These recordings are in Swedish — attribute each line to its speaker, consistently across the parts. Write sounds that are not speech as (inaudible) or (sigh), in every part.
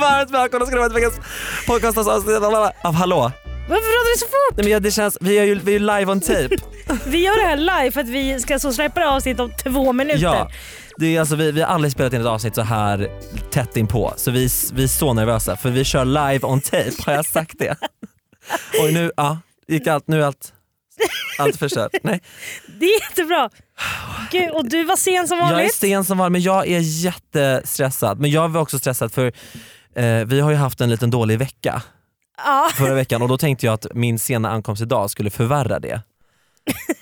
Speaker 1: varmt välkomna ska ni vara till veckans podcastavsnitt av Hallå.
Speaker 2: Varför pratar du så fort?
Speaker 1: Nej, men jag- det känns, vi är ju, vi är ju live on (laughs) tape.
Speaker 2: Vi gör det här live för att vi ska så släppa det här avsnittet om två minuter.
Speaker 1: Ja, det är alltså, vi, vi har aldrig spelat in ett avsnitt så här tätt inpå så vi, vi är så nervösa för vi kör live on tape, har jag sagt (laughs) det? Oj nu, ja, gick allt, nu är allt, allt förstört. Nej,
Speaker 2: Det är jättebra. Gud, och du var sen som
Speaker 1: jag är
Speaker 2: vanligt.
Speaker 1: sten som (laughs) var men jag är jättestressad. Men jag var också stressad för eh, vi har ju haft en liten dålig vecka
Speaker 2: Ja, (laughs)
Speaker 1: förra veckan och då tänkte jag att min sena ankomst idag skulle förvärra det.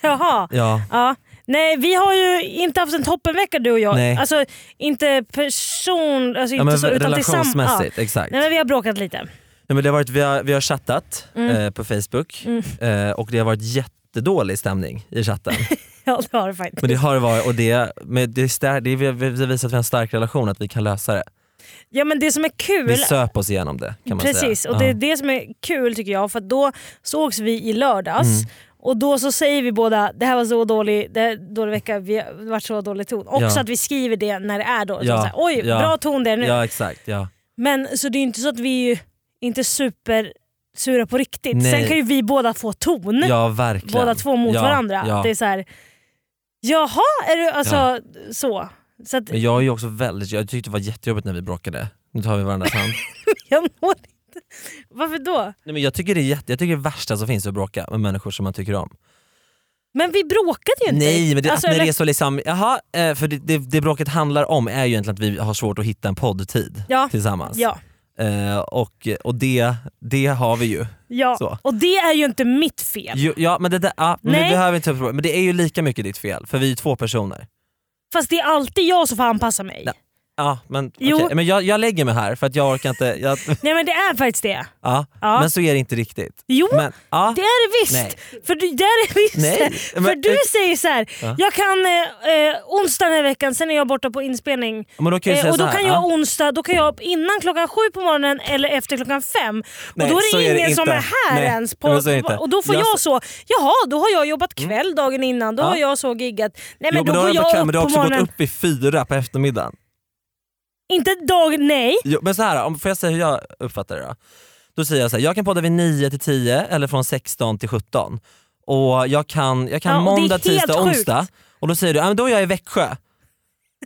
Speaker 2: jaha.
Speaker 1: Ja,
Speaker 2: Ja. Nej, vi har ju inte haft en toppenvecka du och jag.
Speaker 1: Nej.
Speaker 2: Alltså inte person... Alltså,
Speaker 1: ja
Speaker 2: inte
Speaker 1: men
Speaker 2: så, utan tillsamm-
Speaker 1: relationsmässigt, exakt.
Speaker 2: Ja. Nej men vi har bråkat lite. (laughs)
Speaker 1: Nej, men det har varit, vi, har, vi har chattat
Speaker 2: Mm.
Speaker 1: eh, på Facebook
Speaker 2: Mm.
Speaker 1: eh, och det har varit jättedålig stämning i
Speaker 2: (laughs)
Speaker 1: chatten.
Speaker 2: Ja det har det faktiskt.
Speaker 1: Men det har det varit och det, men det, är stär, det, är- vi- vi visar att vi har en stark relation, att vi kan lösa det.
Speaker 2: Ja men det som är
Speaker 1: Vi
Speaker 2: kul...
Speaker 1: söp oss igenom det kan man säga.
Speaker 2: Precis, och det är
Speaker 1: Ja.
Speaker 2: det som är kul tycker jag för att då sågs vi i lördags
Speaker 1: Mm.
Speaker 2: och då så säger vi båda det här var så dålig, det här, är dålig vecka, vi har det har varit så dålig ton. Också
Speaker 1: Ja.
Speaker 2: att vi skriver det när det är dåligt.
Speaker 1: Ja,
Speaker 2: Så här, Oj,
Speaker 1: ja,
Speaker 2: bra ton där nu.
Speaker 1: Ja exakt, ja.
Speaker 2: Men så det är inte så att vi är ju inte super sura på riktigt.
Speaker 1: Nej.
Speaker 2: Sen kan ju vi båda få ton,
Speaker 1: ja verkligen.
Speaker 2: båda två mot
Speaker 1: ja,
Speaker 2: varandra.
Speaker 1: Ja.
Speaker 2: Det är så här, jaha, är du alltså
Speaker 1: Ja.
Speaker 2: så. Så att
Speaker 1: Men jag är ju också väldigt, jag tyckte det var jättejobbigt när vi bråkade. Nu tar vi varandras
Speaker 2: (laughs)
Speaker 1: hand.
Speaker 2: jag når inte. Varför då?
Speaker 1: Nej, men jag, tycker det är jätte, jag tycker det värsta som finns är att bråka med människor som man tycker om.
Speaker 2: Men vi bråkade ju inte.
Speaker 1: Nej men det,
Speaker 2: Alltså,
Speaker 1: att när
Speaker 2: eller-
Speaker 1: det är så liksom, jaha, eh, för det, det, det bråket handlar om är ju egentligen att vi har svårt att hitta en poddtid
Speaker 2: Ja.
Speaker 1: tillsammans.
Speaker 2: Ja.
Speaker 1: Eh, och och det, det har vi ju.
Speaker 2: Ja,
Speaker 1: Så.
Speaker 2: och det är ju inte mitt fel.
Speaker 1: Jo, ja men det där, ah, men
Speaker 2: Nej.
Speaker 1: det behöver vi inte ta upp problemet. Men det är ju lika mycket ditt fel för vi är ju två personer.
Speaker 2: Fast det är alltid jag som får anpassa mig.
Speaker 1: Nej. Ja men,
Speaker 2: Jo.
Speaker 1: okej. men jag, jag lägger mig här för att jag orkar inte, jag,
Speaker 2: Nej men det är faktiskt det.
Speaker 1: ja,
Speaker 2: Ja.
Speaker 1: men så är det inte riktigt.
Speaker 2: Jo,
Speaker 1: Men, ja,
Speaker 2: det är det visst. För du, det är det visst.
Speaker 1: Nej,
Speaker 2: För
Speaker 1: men- eh,
Speaker 2: du säger så här,
Speaker 1: Ja.
Speaker 2: jag kan eh, eh, onsdag den här veckan, sen är jag borta på inspelning.
Speaker 1: men då kan jag ju
Speaker 2: Eh,
Speaker 1: säga
Speaker 2: och då
Speaker 1: så här,
Speaker 2: kan jag
Speaker 1: ja.
Speaker 2: onsdag, då kan jag innan klockan sju på morgonen eller efter klockan fem.
Speaker 1: Nej,
Speaker 2: och då
Speaker 1: så
Speaker 2: är det
Speaker 1: är det
Speaker 2: ingen som
Speaker 1: inte.
Speaker 2: är här
Speaker 1: Nej,
Speaker 2: ens. På,
Speaker 1: men så är det inte.
Speaker 2: och då får
Speaker 1: Jag Mm.
Speaker 2: jag, så, jaha då har jag jobbat kväll dagen innan, då
Speaker 1: Ja.
Speaker 2: har jag så giggat. Nej men
Speaker 1: Jo, men
Speaker 2: då,
Speaker 1: har
Speaker 2: går
Speaker 1: du
Speaker 2: jag
Speaker 1: på kvällen,
Speaker 2: upp
Speaker 1: men du har
Speaker 2: på
Speaker 1: också
Speaker 2: morgonen.
Speaker 1: gått upp i fyra på eftermiddagen.
Speaker 2: Inte dag, nej.
Speaker 1: Jo, men så här, om, får jag säga hur jag uppfattar det då? Då säger jag så här, jag kan podda vid 9 till 10 eller från 16 till 17. Och jag kan, jag kan
Speaker 2: Ja, och det är
Speaker 1: måndag,
Speaker 2: helt
Speaker 1: tisdag,
Speaker 2: sjukt.
Speaker 1: onsdag. Och då säger du, ja, men då är jag i Växjö.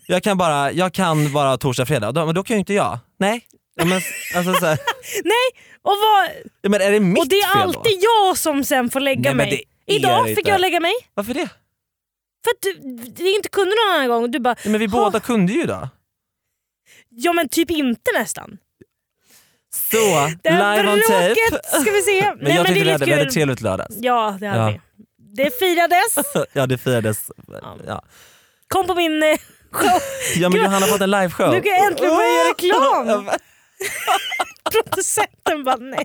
Speaker 1: Jag kan bara, jag kan bara torsdag, fredag. Då, men då kan ju inte jag. Nej. Ja, men, alltså, så här,
Speaker 2: Och vad,
Speaker 1: ja, men är det mitt
Speaker 2: Och det är
Speaker 1: fel då?
Speaker 2: alltid jag som sen får lägga
Speaker 1: Nej, men
Speaker 2: mig.
Speaker 1: det är
Speaker 2: Idag
Speaker 1: det
Speaker 2: fick
Speaker 1: inte.
Speaker 2: jag lägga mig
Speaker 1: Varför det?
Speaker 2: för att du, du inte kunde någon annan gång. Du bara,
Speaker 1: Ja, men vi
Speaker 2: "Ha,
Speaker 1: båda kunde ju då.
Speaker 2: ja men typ inte nästan.
Speaker 1: Så,
Speaker 2: Det här
Speaker 1: live on tape.
Speaker 2: bråket ska vi se.
Speaker 1: (laughs) Men jag tyckte vi hade, vi hade
Speaker 2: kul.
Speaker 1: trevligt lördags.
Speaker 2: Ja det hade
Speaker 1: Ja.
Speaker 2: vi. Det firades.
Speaker 1: Ja det firades. Ja.
Speaker 2: Kom på min eh, show.
Speaker 1: Ja men Johanna har fått en liveshow.
Speaker 2: Nu kan jag äntligen börja göra reklam.
Speaker 1: Ja,
Speaker 2: Producenten bara nej.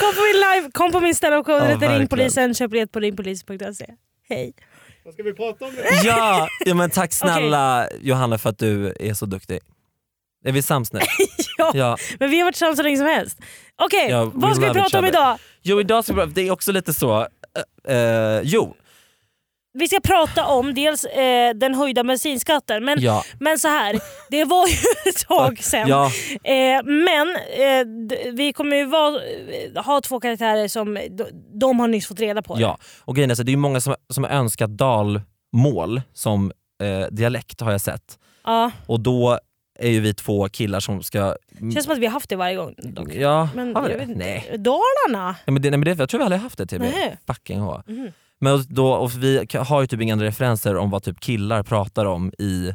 Speaker 2: Kom på min live, kom på min standup-show.
Speaker 1: Ja,
Speaker 2: det heter
Speaker 1: verkligen.
Speaker 2: Ringpolisen. Köp biljett på ringpolisen.se. Hej.
Speaker 3: Vad ska vi prata om nu?
Speaker 1: Ja, ja men tack snälla Johanna för att du är så duktig. Är vi sams nu?
Speaker 2: (laughs) Ja.
Speaker 1: ja.
Speaker 2: Men vi har varit tillsammans så länge som helst. Okej,
Speaker 1: Ja, we
Speaker 2: vad ska vi
Speaker 1: love each
Speaker 2: prata om
Speaker 1: other.
Speaker 2: idag?
Speaker 1: Jo idag ska vi, det är också lite så, eh, eh, jo.
Speaker 2: Vi ska prata om dels eh, den höjda bensinskatten, men,
Speaker 1: Ja.
Speaker 2: men så här, det var ju (laughs) ett tag sen.
Speaker 1: Ja,
Speaker 2: Eh, men eh, d- vi kommer ju vara, eh, ha två karaktärer som de, de har nyss fått reda på. det.
Speaker 1: ja. Och grejen är så, det är ju många som, som har önskat dalmål som eh, dialekt har jag sett.
Speaker 2: Ja,
Speaker 1: Och då är ju vi två killar som ska...
Speaker 2: känns som att vi har haft det varje gång. Dock.
Speaker 1: Ja,
Speaker 2: Men
Speaker 1: har vi
Speaker 2: jag
Speaker 1: det?
Speaker 2: vet inte.
Speaker 1: Nej.
Speaker 2: Dalarna?
Speaker 1: Ja, men det, nej men det, jag tror vi aldrig haft det till
Speaker 2: Nej.
Speaker 1: mig. Fucking ha.
Speaker 2: Mhm.
Speaker 1: Men då, och vi ka- har ju typ inga andra referenser om vad typ killar pratar om i,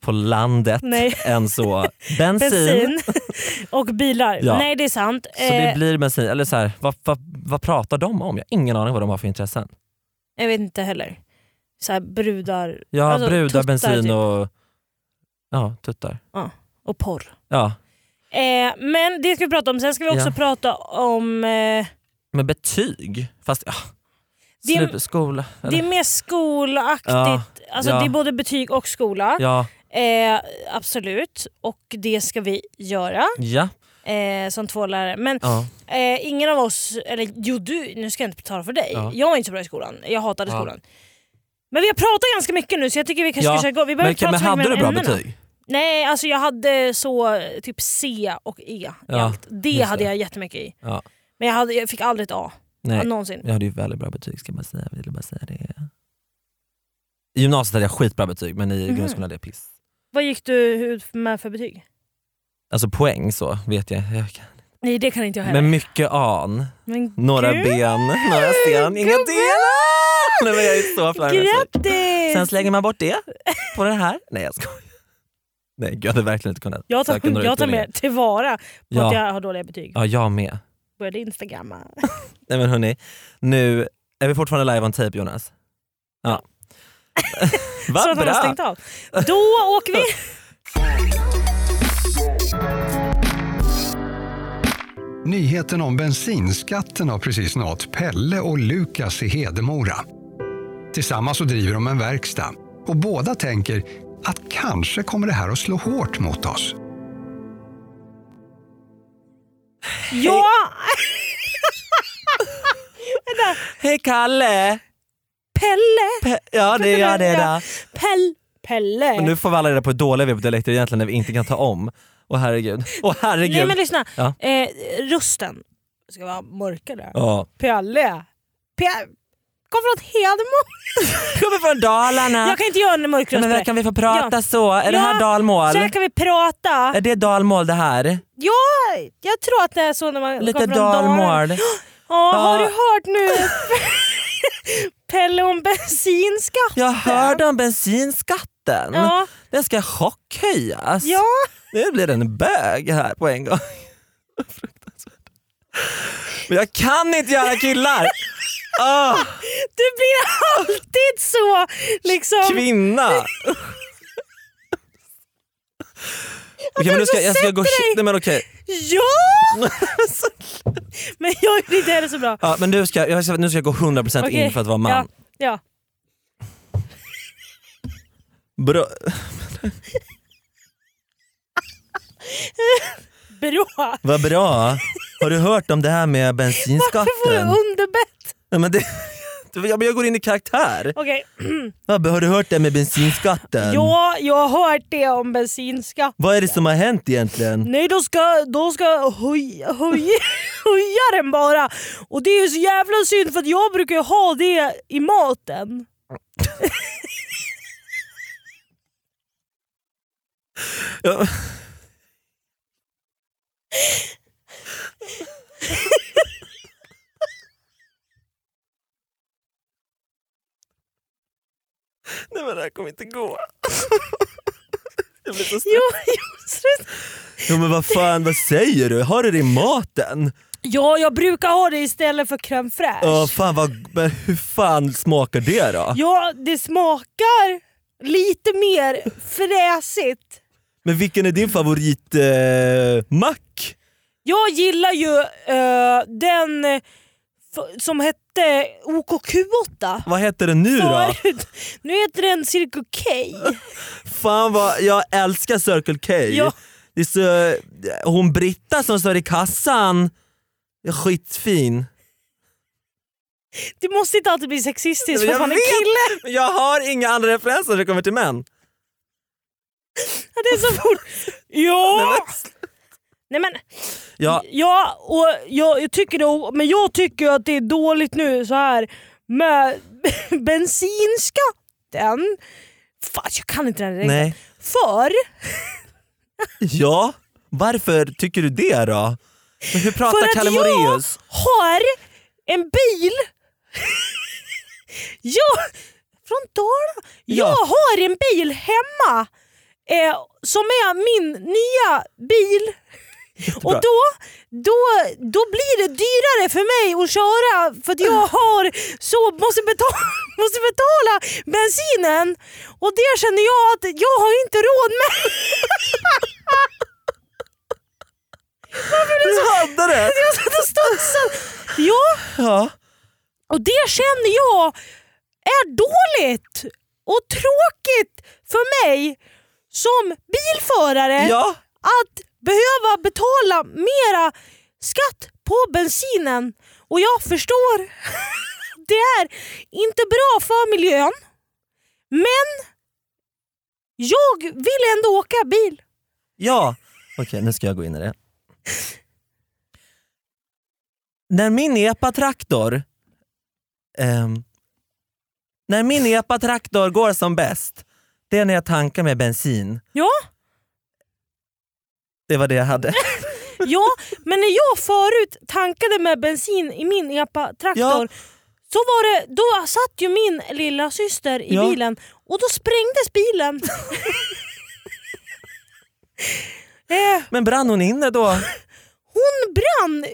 Speaker 1: på landet
Speaker 2: Nej.
Speaker 1: (laughs) än
Speaker 2: (laughs)
Speaker 1: så bensin.
Speaker 2: Bensin
Speaker 1: (laughs)
Speaker 2: och bilar.
Speaker 1: Ja.
Speaker 2: Nej det är sant.
Speaker 1: Så det
Speaker 2: Eh,
Speaker 1: blir bensin, eller så här, vad, vad, vad pratar de om? Jag har ingen aning vad de har för intressen.
Speaker 2: jag vet inte heller. Så här, brudar
Speaker 1: Ja,
Speaker 2: Alltså,
Speaker 1: brudar,
Speaker 2: tuttar
Speaker 1: bensin
Speaker 2: typ.
Speaker 1: och ja, tuttar.
Speaker 2: och porr.
Speaker 1: Ja.
Speaker 2: Eh, men det ska vi prata om. Sen ska vi också
Speaker 1: Ja.
Speaker 2: prata om eh,
Speaker 1: Men betyg, fast ja.
Speaker 2: Det är-
Speaker 1: Slut, skola.
Speaker 2: Det är
Speaker 1: Eller?
Speaker 2: mer skolaktigt.
Speaker 1: Ja,
Speaker 2: Alltså
Speaker 1: ja.
Speaker 2: Det är både betyg och skola.
Speaker 1: Ja,
Speaker 2: Eh, absolut. Och det ska vi göra
Speaker 1: ja,
Speaker 2: eh, som två lärare. Men
Speaker 1: ja.
Speaker 2: eh, ingen av oss, eller jo du, nu ska jag inte tala för dig.
Speaker 1: Ja.
Speaker 2: Jag var inte så bra i skolan. Jag hatade
Speaker 1: Ja.
Speaker 2: skolan. Men vi har pratat ganska mycket nu så jag tycker vi kanske
Speaker 1: Ja,
Speaker 2: ska köra igång. Vi behöver
Speaker 1: Men,
Speaker 2: inte
Speaker 1: men
Speaker 2: prata så mycket
Speaker 1: hade du
Speaker 2: mellan
Speaker 1: bra
Speaker 2: ämnena.
Speaker 1: betyg?
Speaker 2: Nej, alltså jag hade så typ C och E i
Speaker 1: Ja,
Speaker 2: allt. Det
Speaker 1: just det.
Speaker 2: hade jag jättemycket i.
Speaker 1: Ja.
Speaker 2: Men jag, hade, jag fick aldrig ett A.
Speaker 1: Nej,
Speaker 2: Någonsin.
Speaker 1: jag hade ju väldigt bra betyg ska man säga. Jag ville bara säga det. I gymnasiet hade jag skitbra betyg men i
Speaker 2: Mhm.
Speaker 1: grundskolan hade jag piss.
Speaker 2: Vad gick du ut med för betyg?
Speaker 1: Alltså poäng så vet jag. jag kan.
Speaker 2: Nej det kan inte jag heller.
Speaker 1: Men mycket an,
Speaker 2: Men
Speaker 1: några
Speaker 2: gud,
Speaker 1: ben, några sten, inga
Speaker 2: gubben!
Speaker 1: delar! Nej, men jag är så flamsig.
Speaker 2: Grattis!
Speaker 1: Sen slänger man bort det på det här. Nej jag skojar. Nej gud, jag hade verkligen inte kunnat
Speaker 2: jag
Speaker 1: söka
Speaker 2: tar,
Speaker 1: några
Speaker 2: jag tar
Speaker 1: utbildningar.
Speaker 2: med tillvara på
Speaker 1: Ja.
Speaker 2: att jag har dåliga betyg.
Speaker 1: Ja jag med.
Speaker 2: Började instagramma.
Speaker 1: Nej men hörni, nu är vi fortfarande live on tape Jonas.
Speaker 2: (laughs)
Speaker 1: Ja.
Speaker 2: (laughs) Så
Speaker 1: Vad
Speaker 2: att han har
Speaker 1: bra!
Speaker 2: stängt av. Då åker
Speaker 1: (laughs)
Speaker 2: vi!
Speaker 3: Nyheten om bensinskatten har precis nått Pelle och Lukas i Hedemora. Tillsammans så driver de en verkstad och båda tänker att kanske kommer det här att slå hårt mot oss.
Speaker 2: Ja!
Speaker 1: Hej Kalle!
Speaker 2: Pelle!
Speaker 1: Pe- ja det är jag det där.
Speaker 2: Pell, Pelle!
Speaker 1: Men nu får vi alla reda på hur dåliga vi är på dialekter egentligen när vi inte kan ta om. Åh herregud. Åh
Speaker 2: Nej
Speaker 1: herregud.
Speaker 2: men lyssna.
Speaker 1: Ja.
Speaker 2: Eh, rösten ska vara mörkare.
Speaker 1: Ja.
Speaker 2: Pelle. Pe- Kom från Hedemora.
Speaker 1: Kommer från Dalarna.
Speaker 2: Jag kan inte göra en mörk
Speaker 1: Nej,
Speaker 2: röst.
Speaker 1: men
Speaker 2: på
Speaker 1: där
Speaker 2: det.
Speaker 1: kan vi få prata
Speaker 2: Ja.
Speaker 1: så? Är det här
Speaker 2: Ja,
Speaker 1: dalmål?
Speaker 2: Så här kan vi prata.
Speaker 1: Är det dalmål det här?
Speaker 2: Ja, jag tror att det är så när man
Speaker 1: Lite
Speaker 2: kommer från Dalarna.
Speaker 1: dalmål.
Speaker 2: Ja, har
Speaker 1: Ja.
Speaker 2: du hört nu (laughs) Pelle om bensinskatt?
Speaker 1: Jag hörde Mm. om bensinskatten.
Speaker 2: Ja.
Speaker 1: Den ska chockhöjas.
Speaker 2: ja.
Speaker 1: Nu blir det en bög här på en gång. (laughs) Fruktansvärt. Men jag kan inte göra
Speaker 2: (laughs)
Speaker 1: killar! Ah,
Speaker 2: Du blir alltid så liksom...
Speaker 1: kvinna!
Speaker 2: (laughs)
Speaker 1: Okej men nu ska, jag ska gå...
Speaker 2: Alltså, sätter dig.
Speaker 1: Nej, men okej. (laughs)
Speaker 2: Ja! Men jag är inte heller så bra.
Speaker 1: Ja, men du ska, jag ska, nu ska jag gå 100%
Speaker 2: Okej,
Speaker 1: in för att vara man.
Speaker 2: Ja,
Speaker 1: Bro,
Speaker 2: ja. Bra.
Speaker 1: vad bra. Har du hört om det här med bensinskatten?
Speaker 2: Varför får du underbett?
Speaker 1: Nej, men det, jag, jag går in i karaktär.
Speaker 2: Okej,
Speaker 1: Ehm. Vad- Har du hört det med bensinskatten?
Speaker 2: ja, jag har hört det om bensinskatt.
Speaker 1: Vad är det som har hänt egentligen?
Speaker 2: Nej, då ska, då ska höja, höja, (laughs) höja den bara. Och det är ju så jävla synd för att jag brukar ju ha det i maten.
Speaker 1: Ja. Nej men det här kommer inte gå. Jag blir så stressad.
Speaker 2: Jo, jo, stress.
Speaker 1: Jo men vad fan, vad säger du? Har du det i maten?
Speaker 2: ja, jag brukar ha det istället för crème fraîche.
Speaker 1: Ja fan vad, men hur fan smakar det då?
Speaker 2: Ja, det smakar lite mer fräsigt.
Speaker 1: Men vilken är din favorit eh, mack?
Speaker 2: Jag gillar ju eh, den eh, f- som hette OKQ8.
Speaker 1: Vad heter den nu då?
Speaker 2: Förut. (laughs) Nu heter den Circle K.
Speaker 1: Fan vad, jag älskar Circle K.
Speaker 2: Ja.
Speaker 1: Det är så, hon Britta som står i kassan, är skitfin.
Speaker 2: Du måste inte alltid bli sexistisk för
Speaker 1: Jag
Speaker 2: att man är
Speaker 1: vet.
Speaker 2: kille.
Speaker 1: Men Jag har inga andra referenser när det kommer till män.
Speaker 2: Ja, Det är så fort.
Speaker 1: (laughs) Nej,
Speaker 2: Ja! Nej men,
Speaker 1: Ja,
Speaker 2: ja, och jag, jag tycker det, men jag tycker att det är dåligt nu så här med (laughs) bensinskatten. Fan, jag kan inte den regeln.
Speaker 1: nej.
Speaker 2: För
Speaker 1: Ja, varför tycker du det då? Men hur
Speaker 2: För att
Speaker 1: pratar Kalle
Speaker 2: jag-
Speaker 1: Moraeus?
Speaker 2: har en bil. (laughs) jag, från Dalarna. Jag
Speaker 1: Ja.
Speaker 2: har en bil hemma eh, som är min nya bil. Och
Speaker 1: Jättebra.
Speaker 2: då, då, då blir det dyrare för mig att köra för att jag har så måste betala, (laughs) måste betala bensinen. Och det känner jag att jag har inte råd med.
Speaker 1: Du hade det!
Speaker 2: Jag satt och studsade. Ja,
Speaker 1: Ja.
Speaker 2: Och det känner jag är dåligt och tråkigt för mig som bilförare
Speaker 1: ja,
Speaker 2: att behöva betala mera skatt på bensinen. Och jag förstår, (laughs) det är inte bra för miljön. Men Jag vill ändå åka bil.
Speaker 1: Ja! Okej, nu ska jag gå in i det. När min epatraktor ehm, När min epatraktor går som bäst, det är när jag tankar med bensin.
Speaker 2: Ja,
Speaker 1: Det var det jag hade.
Speaker 2: ja. men när jag förut tankade med bensin i min E epa-traktor
Speaker 1: Ja.
Speaker 2: så var det, då satt ju min lilla syster i
Speaker 1: Ja.
Speaker 2: bilen och då
Speaker 1: (laughs)
Speaker 2: sprängdes bilen. eh,
Speaker 1: Men brann hon inne då?
Speaker 2: hon brann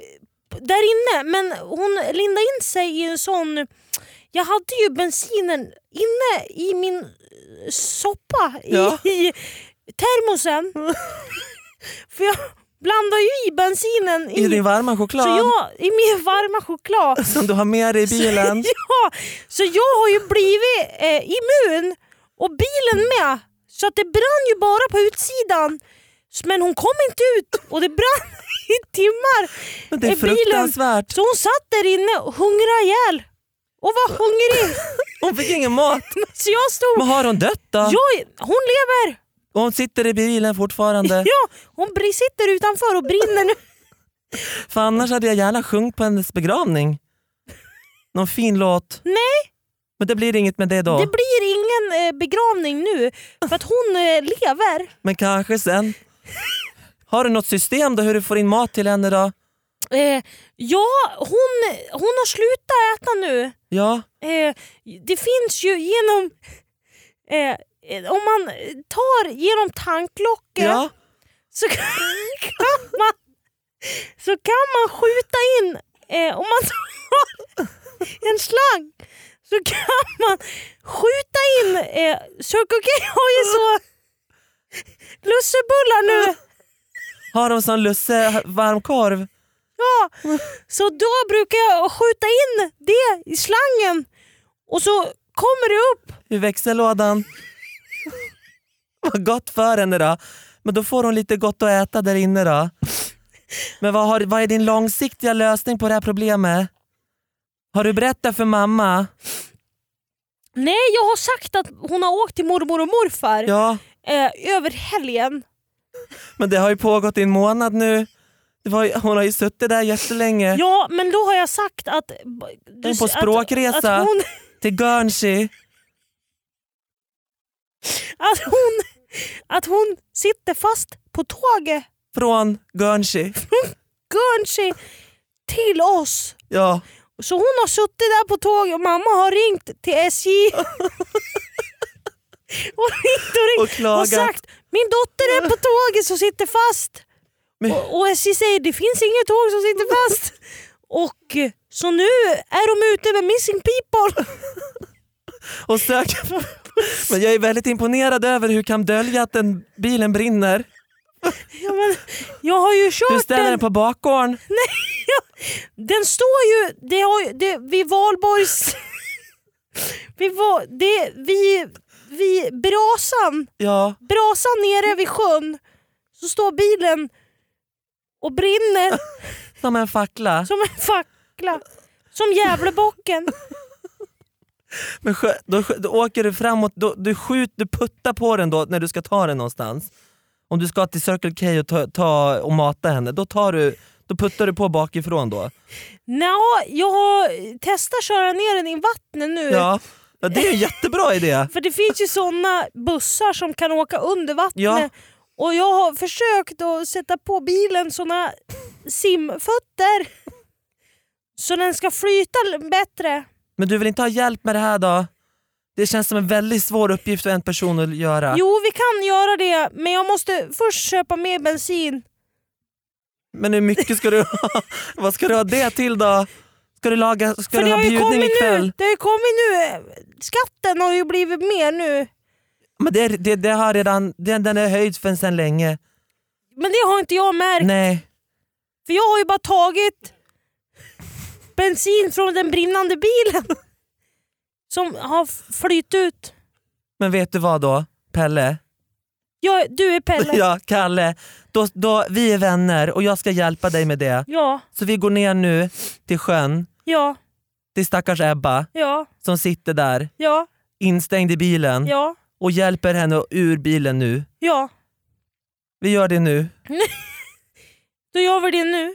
Speaker 2: där inne men hon lindade in sig i en sån... Jag hade ju bensinen inne i min eh, soppa i,
Speaker 1: Ja.
Speaker 2: (laughs) i
Speaker 1: (laughs)
Speaker 2: termosen. För jag blandade ju i bensinen (laughs) i,
Speaker 1: I din varma
Speaker 2: så
Speaker 1: choklad
Speaker 2: jag, i min varma
Speaker 1: (laughs)
Speaker 2: choklad.
Speaker 1: som du har med dig i bilen?
Speaker 2: (laughs) ja, så jag har ju blivit eh, immun och bilen med. Så att det brann ju bara på utsidan. Men hon kom inte ut och det brann (laughs) i timmar.
Speaker 1: Men det är
Speaker 2: i bilen.
Speaker 1: fruktansvärt.
Speaker 2: Så hon satt där inne och hungrade ihjäl. Och var hungrig.
Speaker 1: Hon fick ingen mat.
Speaker 2: Så jag stod...
Speaker 1: Men har hon dött då?
Speaker 2: Jag, hon lever!
Speaker 1: Och hon sitter i bilen fortfarande?
Speaker 2: (laughs) Ja, hon br- sitter utanför och brinner nu.
Speaker 1: För annars hade jag gärna sjungit på hennes begravning. Någon fin låt.
Speaker 2: Nej,
Speaker 1: Men det blir inget med det då.
Speaker 2: det blir ingen eh, begravning nu. För att hon eh, lever.
Speaker 1: Men kanske sen. Har du något system då hur du får in mat till henne då?
Speaker 2: Eh, ja, hon, hon har slutat äta nu.
Speaker 1: Ja,
Speaker 2: Eh, det finns ju genom... Eh, eh, om man tar genom tanklocket
Speaker 1: ja.
Speaker 2: så kan kan man, så kan man skjuta in, eh, om man tar en slang, så kan man skjuta in, eh, Circle K har ju så lussebullar nu,
Speaker 1: Har de sån lusse varmkorv?
Speaker 2: ja. så då brukar jag skjuta in det i slangen och så kommer det upp
Speaker 1: i växellådan. Vad gott för henne då. Men då får hon lite gott att äta där inne då. Men vad, har, vad är din långsiktiga lösning på det här problemet? Har du berättat för mamma?
Speaker 2: Nej, jag har sagt att hon har åkt till mormor och morfar
Speaker 1: Ja,
Speaker 2: eh, över helgen.
Speaker 1: men det har ju pågått i en månad nu. Det var, ju- hon har ju suttit där jättelänge.
Speaker 2: Ja, men då har jag sagt att...
Speaker 1: är på språkresa.
Speaker 2: Att, att, hon, (laughs)
Speaker 1: Till Guernsey.
Speaker 2: att, hon, att hon sitter fast på tåget
Speaker 1: Från Guernsey.
Speaker 2: Guernsey till oss.
Speaker 1: Ja.
Speaker 2: Så hon har suttit där på tåget och mamma har ringt till
Speaker 1: (laughs)
Speaker 2: SJ. och ringt och ringt
Speaker 1: Och klagat.
Speaker 2: och sagt min dotter är på tåget som sitter fast.
Speaker 1: Men-
Speaker 2: Och, och SJ säger det finns inget tåg som sitter fast. och eh, så nu är de ute med missing people. (laughs)
Speaker 1: och söker. Men jag är väldigt imponerad över hur du kan dölja att den bilen brinner.
Speaker 2: Ja, men, jag har ju
Speaker 1: Du
Speaker 2: kört
Speaker 1: ställer
Speaker 2: den.
Speaker 1: den på bakgården.
Speaker 2: Den står ju, det har, ju- det, vid Valborgs... (laughs) vid, Va- det, vid, vid brasan,
Speaker 1: Ja.
Speaker 2: brasan nere vid sjön så står bilen och brinner
Speaker 1: Som en fackla.
Speaker 2: som en fackla. Som Gävlebocken.
Speaker 1: Men skö, då, skö- då åker du framåt, då, du skjuter, du puttar på den då när du ska ta den någonstans. Om du ska till Circle K och, ta, ta, och mata henne, då, tar du, då puttar du på bakifrån då.
Speaker 2: Nå, jag har testat köra ner den i vattnet nu.
Speaker 1: Ja, ja det är en jättebra idé.
Speaker 2: För det finns ju såna bussar som kan åka under vattnet.
Speaker 1: Ja.
Speaker 2: Och jag har försökt att sätta på bilen såna simfötter. Så den ska flyta l- bättre.
Speaker 1: Men du vill inte ha hjälp med det här då? Det känns som en väldigt svår uppgift för en person att göra.
Speaker 2: Jo, vi kan göra det, men jag måste först köpa mer bensin.
Speaker 1: Men hur mycket ska du ha? (laughs) Vad ska du ha det till då? Ska du laga, ska
Speaker 2: För
Speaker 1: du
Speaker 2: det
Speaker 1: ha
Speaker 2: har ju
Speaker 1: bjudning
Speaker 2: kommit nu.
Speaker 1: ikväll?
Speaker 2: Det har ju kommit nu. Skatten har ju blivit mer nu.
Speaker 1: Men det, är- det, det har redan, den, den är höjd för sedan länge.
Speaker 2: Men det har inte jag märkt.
Speaker 1: Nej.
Speaker 2: För jag har ju bara tagit bensin från den brinnande bilen. (laughs) Som har f- flytt ut.
Speaker 1: Men vet du vad då, Pelle?
Speaker 2: Jag, du är Pelle.
Speaker 1: (laughs) Ja, Kalle. Då, då, vi är vänner och jag ska hjälpa dig med det.
Speaker 2: Ja,
Speaker 1: Så vi går ner nu till sjön,
Speaker 2: ja,
Speaker 1: till stackars Ebba
Speaker 2: ja,
Speaker 1: som sitter där
Speaker 2: ja,
Speaker 1: instängd i bilen
Speaker 2: ja.
Speaker 1: och hjälper henne ur bilen nu.
Speaker 2: Ja,
Speaker 1: Vi gör det nu.
Speaker 2: då gör vi det nu.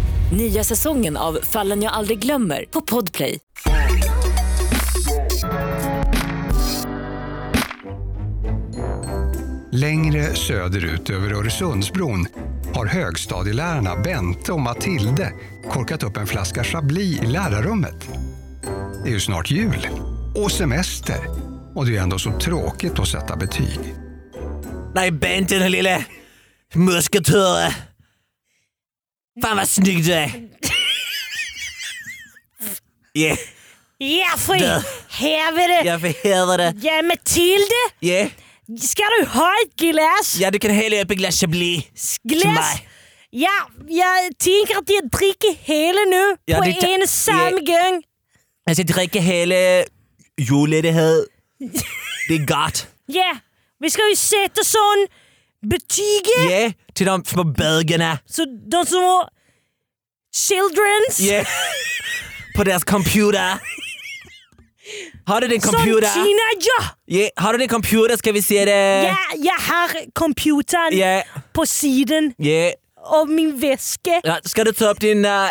Speaker 4: Nya säsongen av Fallen jag aldrig glömmer på Podplay.
Speaker 3: Längre söderut över Öresundsbron har högstadielärarna Bente och Matilde korkat upp en flaska Chablis i lärarrummet. Det är ju snart jul och semester och det är ändå så tråkigt att sätta betyg.
Speaker 1: Nej Bente den lille musketöre. Fan vad snygg du är. Yeah,
Speaker 2: Ja, för i helvete!
Speaker 1: jag förhäver det.
Speaker 2: Ja, Matilda!
Speaker 1: Yeah.
Speaker 2: Ska du ha ett glass?
Speaker 1: Ja, du kan hälla upp ett glas Chablis. till
Speaker 2: glass?
Speaker 1: mig.
Speaker 2: Ja, jag tänker att jag dricker hela nu
Speaker 1: Ja,
Speaker 2: på
Speaker 1: det kan-
Speaker 2: en samma gång.
Speaker 1: Jag ska dricka hela julledighet. Det är gott.
Speaker 2: Ja, vi ska ju sätta sån betyget
Speaker 1: Yeah, till de små bögarna.
Speaker 2: så de som har childrens
Speaker 1: Yeah. På deras computer. Har du din
Speaker 2: som
Speaker 1: computer?
Speaker 2: teenager.
Speaker 1: Yeah. Har du din computer ska vi se det.
Speaker 2: Ja, jag har computern
Speaker 1: Yeah.
Speaker 2: på sidan
Speaker 1: Yeah.
Speaker 2: av min väska.
Speaker 1: Ja, ska du ta upp din... Uh,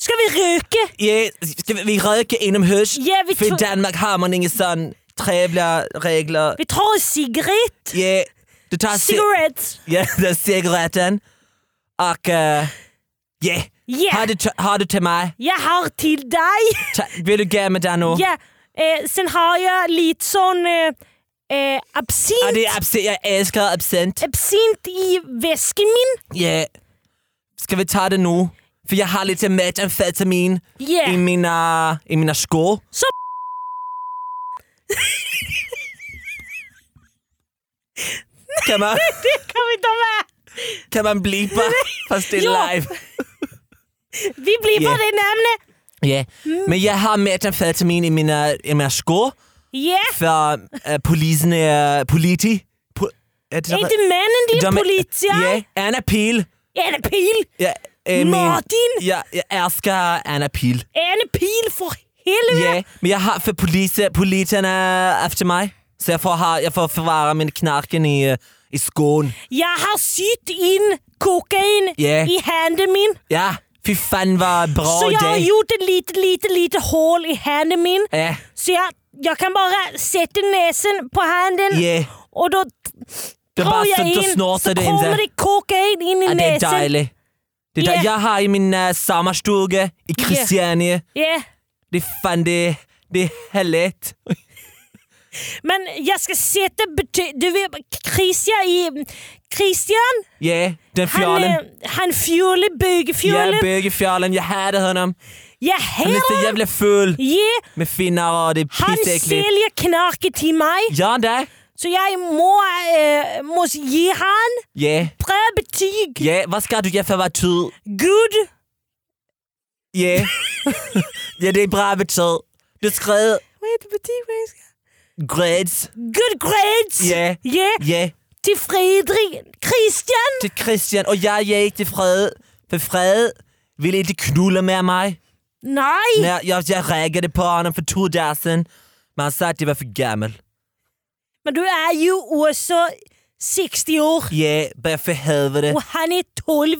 Speaker 2: Ska vi röka?
Speaker 1: yeah. Ska vi, vi röka inomhus?
Speaker 2: Ja, vi
Speaker 1: För i
Speaker 2: tror-
Speaker 1: Danmark har man inga sån trevliga regler.
Speaker 2: Vi tar en cigarett.
Speaker 1: Yeah. Du tar ci- (laughs)
Speaker 2: Cigarett.
Speaker 1: Ja, den cigaretten. Och... eh, yeah.
Speaker 2: Ja,
Speaker 1: Har, du, t- har du till mig?
Speaker 2: jag har till dig.
Speaker 1: Ta, vill du ge mig den nu?
Speaker 2: Ja, eh, sen har jag lite sån eh, eh, absint.
Speaker 1: Ja, det är absint. Jag älskar absint.
Speaker 2: absint i väskan min.
Speaker 1: Yeah. Ska vi ta det nu? För jag har lite metamfetamin i,
Speaker 2: Yeah.
Speaker 1: mina, i mina skor. Kan man,
Speaker 2: Det kan vi ta med.
Speaker 1: kan man blipa fast det är
Speaker 2: Ja.
Speaker 1: live?
Speaker 2: Vi blir på
Speaker 1: Yeah.
Speaker 2: det namnet.
Speaker 1: Yeah. Men jag har metamfetamin i mina, i mina skor
Speaker 2: Yeah.
Speaker 1: för eh, polisen är politi. Po, är det
Speaker 2: Är inte männen din
Speaker 1: De är-
Speaker 2: politia?
Speaker 1: Yeah. Anna Pil.
Speaker 2: Är det pil?
Speaker 1: Jag, eh,
Speaker 2: Martin!
Speaker 1: Min, jag, jag älskar Anna Pil.
Speaker 2: Är det pil för helvete?
Speaker 1: Ja, men jag har för polisen, polisen är efter mig. Så jag får, ha, jag får förvara min knarken i, øh, i skon.
Speaker 2: Jag har sytt in kokain
Speaker 1: Yeah.
Speaker 2: i handen min.
Speaker 1: Ja, fy fan vad bra
Speaker 2: så jag har
Speaker 1: det
Speaker 2: gjort ett litet, litet, litet hål i handen min.
Speaker 1: Ja,
Speaker 2: Så jag, jag kan bara sätta näsen på handen
Speaker 1: ja.
Speaker 2: och då
Speaker 1: Det
Speaker 2: drar
Speaker 1: bara
Speaker 2: jag
Speaker 1: så, då
Speaker 2: in så
Speaker 1: snortar du
Speaker 2: kommer
Speaker 1: inte.
Speaker 2: det kokain in i
Speaker 1: Ja, det är
Speaker 2: näsen.
Speaker 1: dejligt. Det är
Speaker 2: Ja.
Speaker 1: dejligt. Jag har i min uh, sommarstuga i Christiania.
Speaker 2: Yeah.
Speaker 1: Det är fan det, det är härligt.
Speaker 2: Men jag ska sätta betyg... Du vet, Christian i... Christian,
Speaker 1: Ja, den
Speaker 2: han, eh,
Speaker 1: fjollen.
Speaker 2: han fjule,
Speaker 1: Ja,
Speaker 2: bögefjule.
Speaker 1: bögefjollen. Jag hade honom.
Speaker 2: jag
Speaker 1: Han är
Speaker 2: hör
Speaker 1: så jävla full
Speaker 2: Ja,
Speaker 1: med finnar och det är
Speaker 2: han
Speaker 1: pissäckligt.
Speaker 2: säljer knarket till mig.
Speaker 1: Gör han det?
Speaker 2: Så jag må, eh, måste ge han
Speaker 1: Ja.
Speaker 2: bra betyg.
Speaker 1: Ja, vad ska du göra för att vara tur?
Speaker 2: Good. (laughs)
Speaker 1: Ja. ja, det är bra betyg. Du skrev
Speaker 2: Vad heter betyg på engelska?
Speaker 1: grades.
Speaker 2: Good grades.
Speaker 1: Ja.
Speaker 2: Ja,
Speaker 1: Ja,
Speaker 2: till Fredrik. Christian.
Speaker 1: till Christian och jag gick till Fred. För Fred ville inte knulla med mig.
Speaker 2: Nej.
Speaker 1: När jag, jag räkade på honom för två dagar sedan. Men han sa att jag var för gammal.
Speaker 2: Men du är ju också 60 år
Speaker 1: Ja, bara för helvete.
Speaker 2: och han är 12.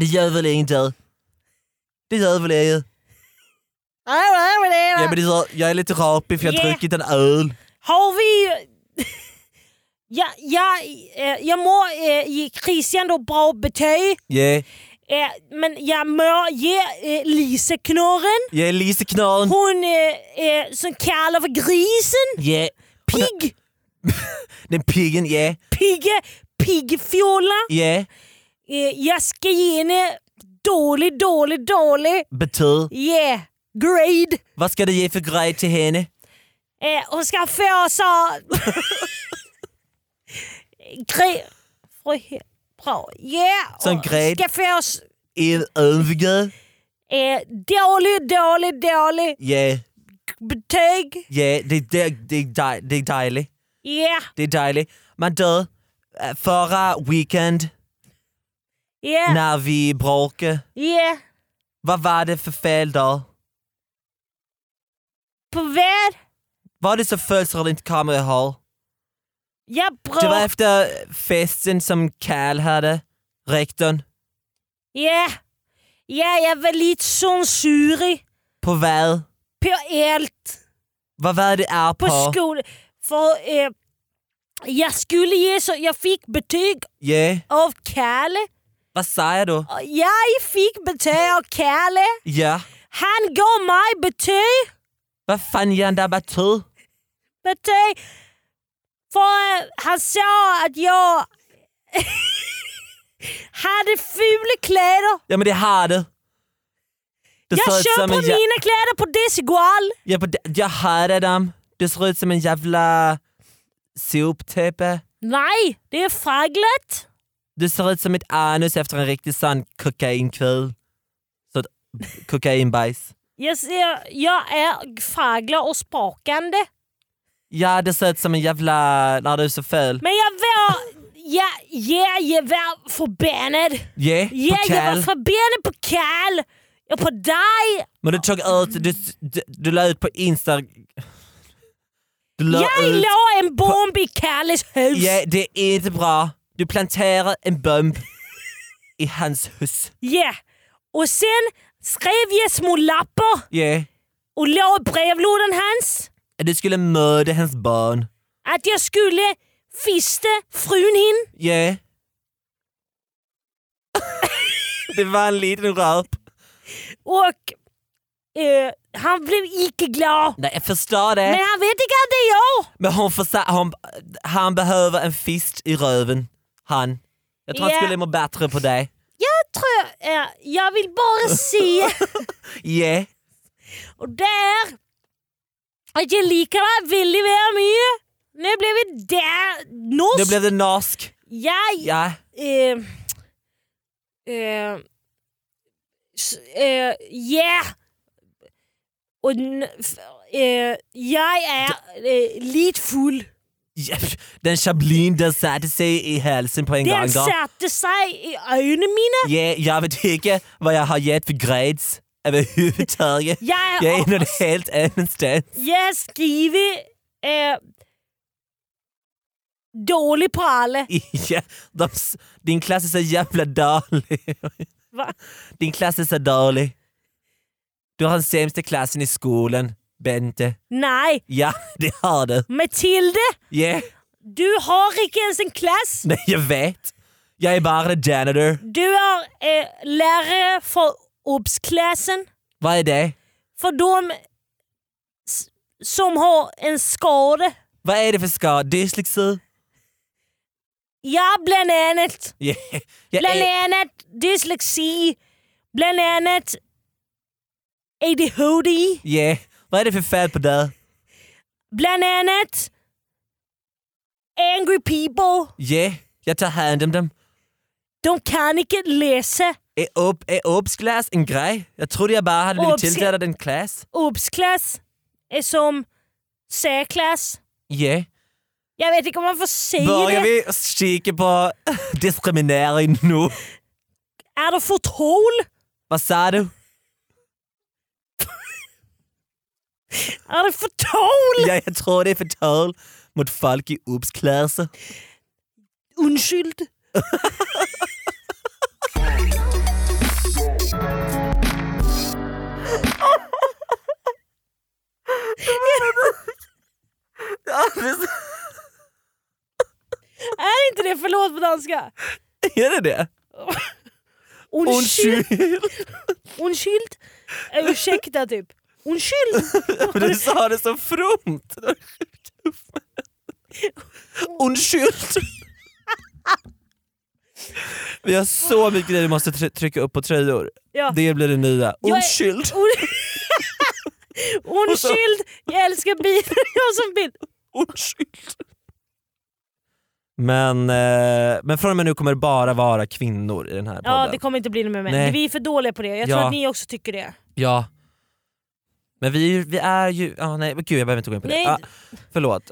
Speaker 1: Det gör väl inte. Det gör väl inget. Ja, men det gör, jag är lite rapig för jag har
Speaker 2: Ja.
Speaker 1: druckit en öl.
Speaker 2: Har vi... (laughs) Ja, ja, eh, jag må eh, ge Christian då bra betyg,
Speaker 1: Ja,
Speaker 2: eh, men jag må ge eh, Lisa knorren.
Speaker 1: jag är Lise Knarren.
Speaker 2: Hon eh, eh, som kallar för grisen.
Speaker 1: Ja,
Speaker 2: Pigg.
Speaker 1: den piggen, ja.
Speaker 2: Pigge. Piggfjolla.
Speaker 1: Ja,
Speaker 2: Eh, jag ska ge henne dålig, dålig, dålig.
Speaker 1: betyg.
Speaker 2: Yeah. Grade.
Speaker 1: Vad ska du ge för grej till henne?
Speaker 2: Eh, hon ska få så... Gre... Frihet. Bra. Yeah!
Speaker 1: Som
Speaker 2: och
Speaker 1: grej.
Speaker 2: Skaffa oss
Speaker 1: In övriga,
Speaker 2: eh, dålig, dålig, dålig
Speaker 1: ja,
Speaker 2: betyg.
Speaker 1: ja, det, det, det, är dej- det är dejligt.
Speaker 2: Yeah!
Speaker 1: Det är dejligt. Men du, eh, förra weekend
Speaker 2: Yeah!
Speaker 1: när vi bråkade,
Speaker 2: Yeah!
Speaker 1: vad var det för fel där?
Speaker 2: På vad?
Speaker 1: Var det så födelsedag du inte kom och höll?
Speaker 2: Jag
Speaker 1: Det var
Speaker 2: bra.
Speaker 1: efter festen som Cal hade, rektorn,
Speaker 2: Yeah! Ja, jag var lite sån surig
Speaker 1: på vad?
Speaker 2: på allt.
Speaker 1: Vad var det är
Speaker 2: på
Speaker 1: på?
Speaker 2: skolan. För eh, jag skulle ge så jag fick betyg
Speaker 1: Ja,
Speaker 2: av Kalle.
Speaker 1: vad säger du?
Speaker 2: Och Jag fick betyg av Kalle.
Speaker 1: Ja,
Speaker 2: Han gav mig betyg.
Speaker 1: vad fan gör han där med tur?
Speaker 2: betyg för eh, han sa att jag (laughs) hade fula kläder.
Speaker 1: Ja men det har du. Du ser
Speaker 2: Jag
Speaker 1: ut som
Speaker 2: köper
Speaker 1: en jä-
Speaker 2: mina kläder på Desigual.
Speaker 1: Ja, på det- jag hörde dem. Du ser ut som en jävla soptippe.
Speaker 2: Nej, det är fragglet.
Speaker 1: Du ser ut som ett anus efter en riktig sån kokainkväll. Så ett kokainbajs.
Speaker 2: Jag, ser, jag är fragglar och sprakande.
Speaker 1: Ja, du ser ut som en jävla... När du är så fel.
Speaker 2: Men jag var... Ja, ja, jag var förbannad.
Speaker 1: Yeah,
Speaker 2: Ja,
Speaker 1: på
Speaker 2: jag var
Speaker 1: Cal.
Speaker 2: förbannad på Cal och på dig.
Speaker 1: Men du tog ut... Du, du, du la ut på Insta... Du la
Speaker 2: jag
Speaker 1: ut...
Speaker 2: la en bomb i Calles hus.
Speaker 1: Ja, det är inte bra. Du planterar en bomb i hans hus.
Speaker 2: Ja. Och sen skrev jag små lappar
Speaker 1: Yeah.
Speaker 2: och la i brevlådan hans
Speaker 1: Du skulle mörda hans barn.
Speaker 2: att jag skulle fista frun hin.
Speaker 1: Yeah. (laughs) det var en liten röp.
Speaker 2: Och eh, han blev icke glad.
Speaker 1: Nej, jag förstår
Speaker 2: Men
Speaker 1: det.
Speaker 2: han vet inte att det är jag.
Speaker 1: Men hon försa- hon, han behöver en fist i röven. Han. Jag tror
Speaker 2: Ja.
Speaker 1: han skulle må bättre på det.
Speaker 2: Tror jag, eh, jag vill bara se
Speaker 1: Yeah.
Speaker 2: Och där... Att jag liker deg veldig vel mye. Nå ble vi der norsk.
Speaker 1: Då blev det norsk.
Speaker 2: Jeg
Speaker 1: Ja.
Speaker 2: eh, eh, s- eh, Ja. Og n- f- eh, jeg er eh, litt full.
Speaker 1: Ja, Den chablin den satte sig i halsen på en gång.
Speaker 2: Den
Speaker 1: då.
Speaker 2: satte seg i øynene mine.
Speaker 1: Ja, jag vet inte vad jag har gett för grades överhuvudtaget.
Speaker 2: Jeg,
Speaker 1: Jag är någon helt annanstans.
Speaker 2: jeg skriver eh, dårlig på alle.
Speaker 1: Ja, de, s- din klass är så jävla dålig.
Speaker 2: Va?
Speaker 1: Din klass är så dålig. Du har den sämsta klassen i skolan, Bente.
Speaker 2: Nei.
Speaker 1: Ja, det har du.
Speaker 2: Mathilde,
Speaker 1: Yeah.
Speaker 2: du har ikke ens en klasse.
Speaker 1: Nej, jag vet. Jag är bara en janitor.
Speaker 2: Du er eh, lærer for obs-klassen.
Speaker 1: Vad är det?
Speaker 2: For de s- som har en skade.
Speaker 1: Vad är det för skada? Dyslexi?
Speaker 2: Ja, blant annet.
Speaker 1: Yeah. Jag
Speaker 2: Blant
Speaker 1: är,
Speaker 2: annet dysleksi. Blant annet ADHD.
Speaker 1: yeah. Vad är det för fel på dig?
Speaker 2: Blant annet angry people.
Speaker 1: Yeah. Jag tar hand om dem.
Speaker 2: De kan ikke lese.
Speaker 1: Är upp, är obsklass en grej? Jag trodde jag bara hade blivit
Speaker 2: Obs-
Speaker 1: tilldelad en klass.
Speaker 2: Obs-klasse er eh, som særklasse.
Speaker 1: Yeah.
Speaker 2: Jeg vet ikke om man får si det.
Speaker 1: Börjar vi kika på (laughs) diskriminering nu?
Speaker 2: Er det for troll?
Speaker 1: Vad sa du?
Speaker 2: Er det for troll?
Speaker 1: Ja, jag tror det är förtal mot folk i (laughs) obsklasser.
Speaker 2: Unnskyld. Är inte det förlåt på danska?
Speaker 1: Är det det?
Speaker 2: Undskyld.
Speaker 1: Undskyld.
Speaker 2: Undskyld. Eh, Ursäkta typ. Undskyld.
Speaker 1: Men du sa det så fromt. Undskyld. Vi har så mycket grejer vi måste try- trycka upp på tröjor.
Speaker 2: Ja.
Speaker 1: Det blir det nya.
Speaker 2: Jag är-
Speaker 1: Undskyld.
Speaker 2: Un- (laughs) Undskyld. Jag älskar bilen. Jag har som bild.
Speaker 1: Undskyld. Men, eh, men från och med nu kommer det bara vara kvinnor i den här podden.
Speaker 2: Ja det kommer inte bli något med mig.
Speaker 1: Nej.
Speaker 2: Vi är för dåliga på det. Jag tror
Speaker 1: Ja.
Speaker 2: att ni också tycker det.
Speaker 1: Ja. Men vi, är ju- vi är ju... Ah, nej, men gud jag behöver inte gå in på
Speaker 2: Nej.
Speaker 1: det. Ah,
Speaker 2: (laughs)
Speaker 1: förlåt.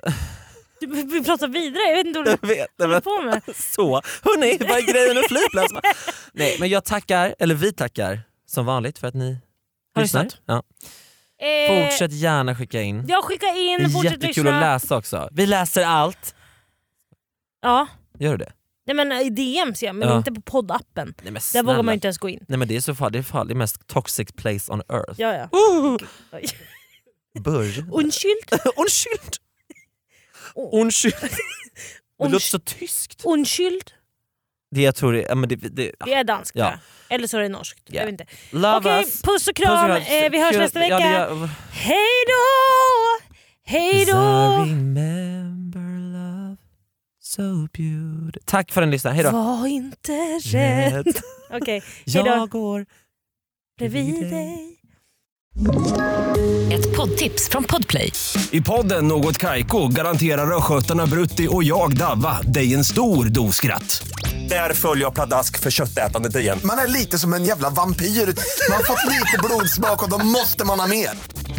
Speaker 2: Du, vi pratar vidare, jag vet inte
Speaker 1: (laughs)
Speaker 2: vad du
Speaker 1: Jag vet, nej,
Speaker 2: håller
Speaker 1: men,
Speaker 2: på med.
Speaker 1: så.
Speaker 2: (laughs)
Speaker 1: Hörni, vad är grejen med flygplats? nej, men jag tackar, eller vi tackar som vanligt för att ni
Speaker 2: Har
Speaker 1: lyssnar.
Speaker 2: lyssnat?
Speaker 1: Ja.
Speaker 2: Eh,
Speaker 1: Fortsätt gärna skicka in.
Speaker 2: Jag skickar
Speaker 1: Det
Speaker 2: in,
Speaker 1: är
Speaker 2: fortsätt
Speaker 1: jättekul att
Speaker 2: lyssna.
Speaker 1: läsa också. Vi läser allt.
Speaker 2: Ja.
Speaker 1: Gör du det?
Speaker 2: Nej men eh, i DM ser jag, men
Speaker 1: Ja.
Speaker 2: inte på poddappen.
Speaker 1: Nej men
Speaker 2: Där
Speaker 1: snälla.
Speaker 2: vågar man ju inte ens gå in.
Speaker 1: Nej men det är så farligt, det är farligt. Det är mest toxic place on earth.
Speaker 2: Ja, ja. Oj.
Speaker 1: Börj. (laughs)
Speaker 2: Undskyld.
Speaker 1: Undskyld!
Speaker 2: O- (laughs)
Speaker 1: Undskyld. Det låter så tyskt.
Speaker 2: Undskyld.
Speaker 1: Det jag tror är... Ja, men det, det,
Speaker 2: Det är danskt
Speaker 1: Ja.
Speaker 2: tror jag. Eller så är det norskt.
Speaker 1: Ja.
Speaker 2: Jag vet inte.
Speaker 1: Love
Speaker 2: Okej,
Speaker 1: us.
Speaker 2: puss och kram.
Speaker 1: Puss och kram.
Speaker 2: Eh, vi hörs
Speaker 1: Kul-
Speaker 2: nästa
Speaker 1: Ja,
Speaker 2: vecka.
Speaker 1: det gör-
Speaker 2: Hej då! Hej
Speaker 1: Cause I
Speaker 2: då!
Speaker 1: remember love so beautiful. Tack för att ni lyssnade, hejdå!
Speaker 2: Var inte rädd. Okej, (laughs) hej då.
Speaker 1: Jag går
Speaker 2: Bredvid dig.
Speaker 4: Ett poddtips från Podplay.
Speaker 5: I podden Något Kaiko garanterar östgötarna Brutti och jag, Davva, dig en stor dos skratt. Där följer jag pladask för köttätandet igen.
Speaker 6: Man är lite som en jävla vampyr. Man har fått lite blodsmak och då måste man ha mer.